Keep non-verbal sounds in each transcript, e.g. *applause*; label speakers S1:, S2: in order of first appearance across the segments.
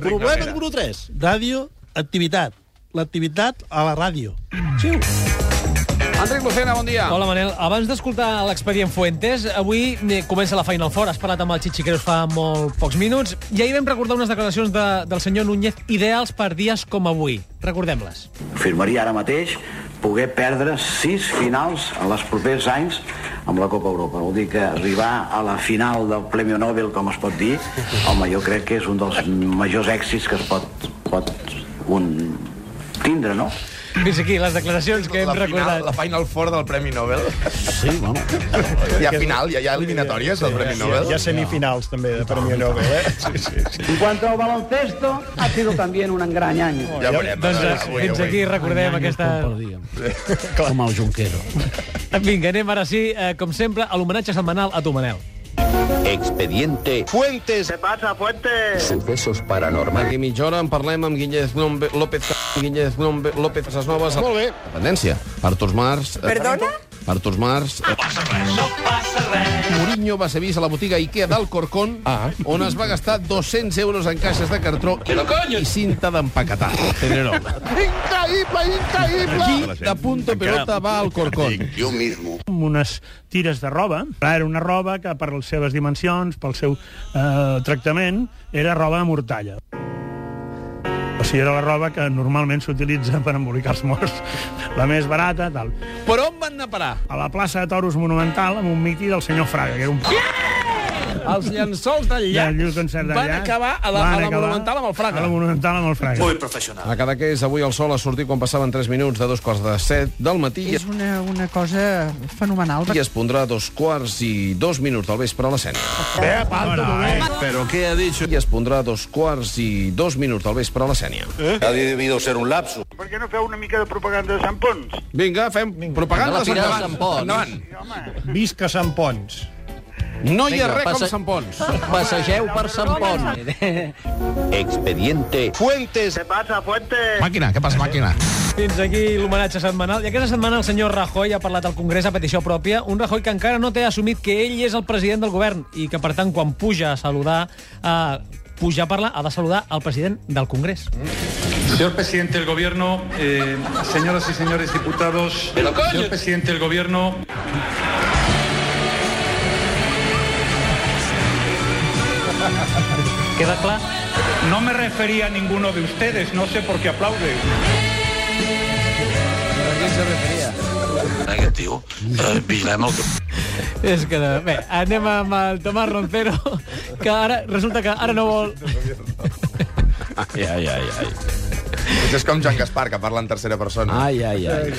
S1: Problema número 3. Ràdio, activitat. L'activitat a la ràdio. Xiu.
S2: Enric Lucena, bon dia.
S3: Hola, Manel. Abans d'escoltar l'expedient Fuentes, avui eh, comença la Final Four. Has parlat amb el Xitxiqueros fa molt pocs minuts. I ahir vam recordar unes declaracions de, del senyor Núñez ideals per dies com avui. Recordem-les.
S4: Firmaria ara mateix poder perdre sis finals en els propers anys amb la Copa Europa. Vol dir que arribar a la final del Premi Nobel, com es pot dir, home, jo crec que és un dels majors èxits que es pot, pot un tindre, no?
S3: Fins aquí, les declaracions que hem
S5: la final,
S3: recordat.
S5: la Final Four del Premi Nobel.
S1: Sí, bueno.
S5: Hi ha final, hi ha, hi ha eliminatòries del Premi Nobel.
S6: Hi ha semifinals, també, de Premi Nobel, eh? Sí, sí, sí.
S7: En cuanto al baloncesto, ha sido también un gran año.
S5: Ja veurem. a
S3: Doncs eh,
S5: veure, avui,
S3: fins
S5: avui.
S3: aquí recordem aquesta...
S5: *laughs*
S1: Com el Junquero.
S3: Vinga, anem ara sí, eh, com sempre, a l'homenatge setmanal a tu, Manel.
S8: Expediente
S9: Fuentes. ¿Qué pasa, Fuentes?
S8: Sucesos Paranormales.
S2: D'aquí mitja hora en parlem amb Guillez Nombe, López, Guillez Nombe, López Casas Noves.
S9: Molt bé.
S2: Dependència. Artur Mars.
S10: Perdona?
S2: Artur Mars. No passa res, no passa res. Mourinho va ser vist a la botiga Ikea d'Alcorcón, ah. on es va gastar 200 euros en caixes de cartró i cinta d'empaquetar. Pedrero.
S9: Increïble, increïble.
S2: Qui de punto pelota va al Corcón?
S8: Yo mismo.
S6: Amb unes tires de roba. Era una roba que, per les seves dimensions, pel seu eh, tractament, era roba de mortalla. O sigui, era la roba que normalment s'utilitza per embolicar els morts. La més barata, tal.
S2: Per on van anar a parar?
S6: A la plaça de Toros Monumental, amb un miti del senyor Fraga, que era un...
S2: Els llençols del llac
S6: Del concert de
S2: van
S6: Llach.
S2: acabar a la,
S6: Van
S2: a la
S6: acabar
S2: Monumental amb el Fraga.
S6: A la Monumental amb el Fraga.
S2: A Cadaqués, avui el sol ha sortit quan passaven 3 minuts de dos quarts de 7 del matí i
S10: És una, una cosa fenomenal.
S2: i es pondrà a dos quarts i dos minuts del vespre a l'escena.
S6: Eh, palto, tu, eh?
S2: Però què ha dit? I es pondrà a dos quarts i dos minuts del vespre a l'escena.
S8: Ha debido ser un lapso.
S9: Per què no feu una mica de propaganda de Sant Pons?
S2: Vinga, fem Vinga. propaganda de Sant Pons. Endavant.
S6: Visca Sant Pons.
S2: No hi ha res com Sant Pons.
S7: Passegeu per Sant Pont.
S8: Expediente
S9: Fuentes. ¿Qué pasa, Fuentes?
S2: Màquina, què passa, màquina?
S3: Fins aquí l'homenatge setmanal. I aquesta setmana el senyor Rajoy ha parlat al Congrés a petició pròpia, un Rajoy que encara no té assumit que ell és el president del govern i que, per tant, quan puja a saludar, a puja a parlar, ha de saludar el president del Congrés.
S5: Mm.
S9: Señor presidente del gobierno, eh, señoras y señores diputados, señor presidente del gobierno,
S3: Queda clar?
S9: no me refería a ninguno de ustedes, no sé por qué aplaude.
S3: És que... de- Bé, anem amb el Tomàs Roncero, que ara resulta que ara no vol...
S2: Ai, ai, ai, ai.
S5: Potser és com Joan Gaspar, que parla en tercera persona.
S2: Ai, ai, ai.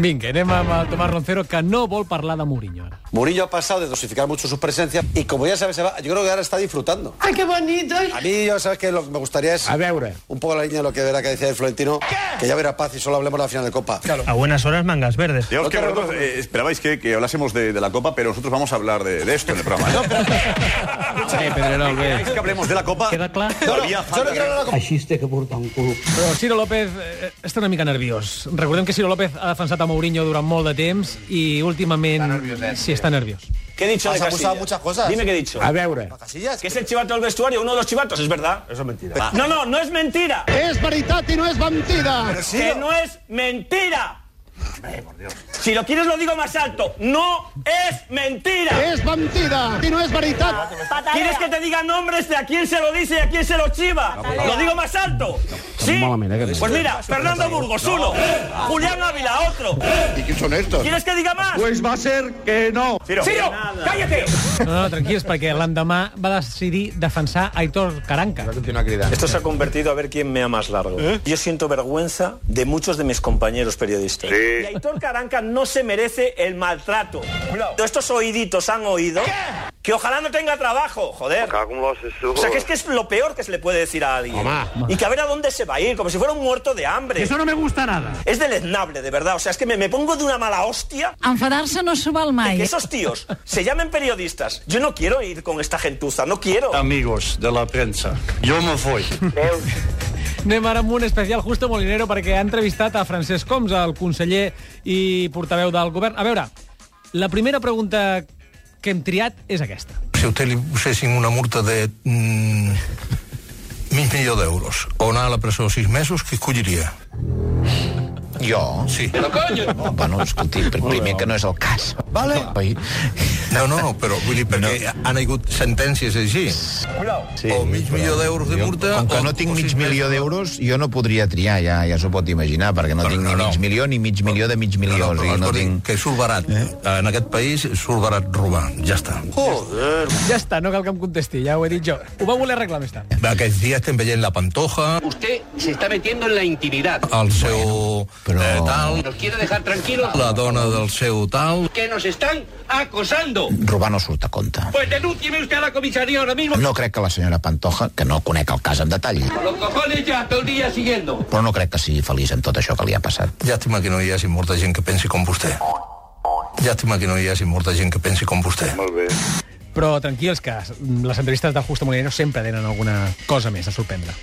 S3: Vinga, anem amb el Tomàs Roncero, que no vol parlar de Mourinho. ara.
S11: Murillo ha pasado de dosificar mucho sus presencias y como ya sabes, se va- yo creo que ahora está disfrutando.
S10: Ai, que bonito.
S11: A mí, yo sabes que lo que me gustaría es
S6: A veure.
S11: un poco la línea de lo que verá que decía el Florentino, que ya verá paz y solo hablemos de la final de Copa.
S6: A buenas horas, mangas verdes.
S8: Digamos que vosotros eh, esperabais que, que hablásemos de, de la Copa, pero nosotros vamos a hablar de, de esto en el programa. ¿no?
S3: Bé, Pedrerol, bé.
S8: ¿Queréis que hablemos de la Copa?
S3: Queda clar?
S11: No, no,
S8: Todavía
S11: yo no
S8: falta
S11: quiero hablar de la Copa.
S7: Així es té que portar un club.
S3: Però Ciro López eh, està una mica nerviós. Recordem que Ciro López ha defensat a Mourinho durant molt de temps i últimament... Està nerviós, sí, està nerviós.
S9: ¿Qué eh? he dicho
S11: Has acusado muchas cosas.
S9: Dime qué he dicho.
S6: A veure.
S11: ¿A Casillas?
S9: Que es el chivato del vestuario, uno de los chivatos, ¿es verdad? Eso es mentira. ¿Eh? No, no, no es mentira.
S11: Es veritat i no és mentida. Però sí,
S9: Que no es mentira. Si lo quieres lo digo más alto. No es mentira.
S11: és mentida i no és veritat.
S9: ¿Quieres que te diga nombres de a quién se lo dice y a quién se lo chiva? Lo digo más alto. Sí. Pues mira, Fernando Burgos uno, Julián Ávila otro.
S8: ¿Y quién son estos?
S9: ¿Quieres que diga más?
S6: Pues va a ser que no.
S8: Ciro.
S9: Ciro, cállate.
S3: No, no, tranquils, perquè l'endemà va decidir defensar Aitor Caranca.
S5: Va continuar cridant.
S9: Esto se ha convertido a ver quién mea más largo. Yo siento vergüenza de muchos de mis compañeros periodistas. Y Aitor Caranca no se merece el maltrato. Estos oíditos han oído que ojalá no tenga trabajo, joder. O sea, que es que es lo peor que se le puede decir a alguien. Y que a ver a dónde se va a ir, como si fuera un muerto de hambre.
S6: no me gusta nada.
S9: Es deleznable, de verdad. O sea, es que me, me pongo de una mala hostia.
S10: Enfadar-se no s'ho val
S9: Que
S10: mai.
S9: esos tíos se llamen periodistas. Yo no quiero ir con esta gentuza, no quiero.
S11: Amigos de la prensa, yo me voy.
S3: Anem ara amb un especial Justo Molinero perquè ha entrevistat a Francesc Coms, el conseller i portaveu del govern. A veure, la primera pregunta que hem triat és aquesta.
S11: Si a usted le pusiesen una multa de...
S9: mig milió d'euros o anar a la presó sis mesos, qui escolliria? Jo? Sí. Però conya! Bueno, escolti, primer que no és el cas. Vale. No, no, però vull dir, perquè no. han hagut sentències així. Sí, o mig milió d'euros de multa...
S4: Com que
S9: o-
S4: no
S9: o
S4: tinc mig
S9: sis
S4: milió d'euros, jo no podria triar, ja, ja s'ho pot imaginar, perquè no tinc ni mig milió ni mig milió de mig milió. o sigui, no
S9: Escolti,
S4: tinc...
S9: que surt barat. Eh? En aquest país surt barat robar. Ja està.
S3: Joder. Ja està, no cal que em contesti, ja ho he dit jo. Ho va voler arreglar més tard.
S9: Aquests dies estem veient la Pantoja,
S1: Usted se está metiendo en la intimidad.
S9: el seu però... eh, tal,
S1: ¿Nos quiere dejar tranquilos?
S9: la dona del seu tal...
S1: Que nos están acosando.
S4: Robar no surt a compte.
S1: Pues denúncieme usted a la comisaría ahora mismo.
S4: No crec que la senyora Pantoja, que no conec el cas en detall,
S1: Los cojones ya, todo el día siguiendo.
S4: però no crec que sigui feliç amb tot això que li ha passat.
S9: Llàstima que no hi hagi molta gent que pensi com vostè. Llàstima que no hi hagi molta gent que pensi com vostè. Molt bé.
S3: Però tranquils, que les entrevistes de Justo Molinero sempre tenen alguna cosa més a sorprendre.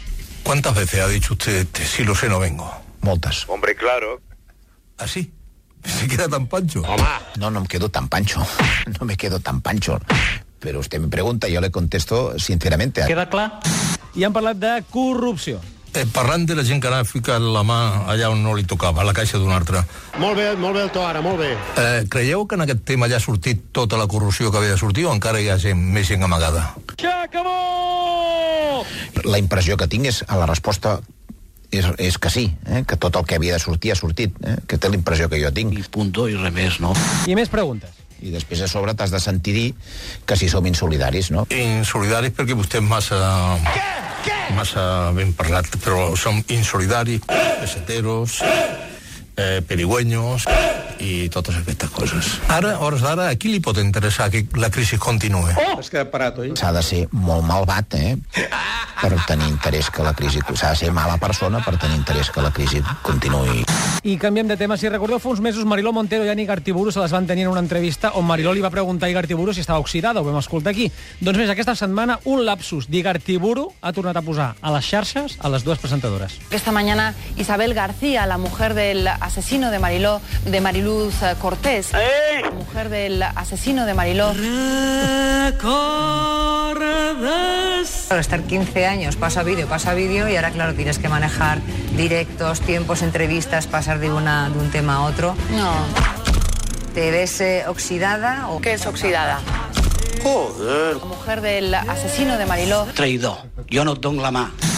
S9: ¿Cuántas veces ha dicho usted, si lo sé, no vengo?
S4: Moltes.
S9: Hombre, claro. ¿Ah, sí? Se queda tan pancho.
S4: No, no em quedo tan pancho. *laughs* No me quedo tan pancho. Pero usted me pregunta, yo le contesto sinceramente.
S3: Queda clar? I han parlat de corrupció.
S9: Eh, parlant de la gent que anava ficant la mà allà on no li tocava, a la caixa d'un altre,
S12: Molt bé, molt bé el to ara, molt bé.
S9: eh, creieu que en aquest tema ja ha sortit tota la corrupció que havia de sortir o encara hi ha gent, més gent amagada?
S4: La impressió que tinc és a la resposta és, és que sí, eh? que tot el que havia de sortir ha sortit. Eh? Que té la impressió que jo tinc. I punto, i res més, no?
S3: I més preguntes.
S4: I després a sobre t'has de sentir dir que si som insolidaris, no?
S9: Insolidaris perquè vostè és massa... Què? Què? Massa ben parlat, però som insolidaris, peseteros, eh, perigüeños i totes aquestes coses. Ara, a hores d'ara, a qui li pot interessar que la crisi continuï?
S4: Oh! Has quedat parat, oi? S'ha de ser molt malvat, eh? Per tenir interès que la crisi... S'ha de ser mala persona per tenir interès que la crisi continuï.
S3: I canviem de tema. Si recordeu, fa uns mesos Mariló Montero i Anna Igartiburu se les van tenir en una entrevista on Mariló li va preguntar a Igartiburu si estava oxidada. Ho vam escoltar aquí. Doncs més, aquesta setmana un lapsus d'Igartiburu ha tornat a posar a les xarxes a les dues presentadores.
S13: Esta mañana Isabel García, la mujer del asesino de Mariló, de Mariluz eh, Cortés, la mujer del asesino de Mariló.
S14: Para estar 15 años, pasa vídeo, pasa vídeo y ahora claro tienes que manejar directos, tiempos, entrevistas, pasar de una de un tema a otro.
S13: No.
S14: ¿Te ves eh, oxidada o
S13: ¿Qué es oxidada?
S12: Joder.
S13: La mujer del asesino de Mariló.
S12: Traïdor. Jo no et dono la mà.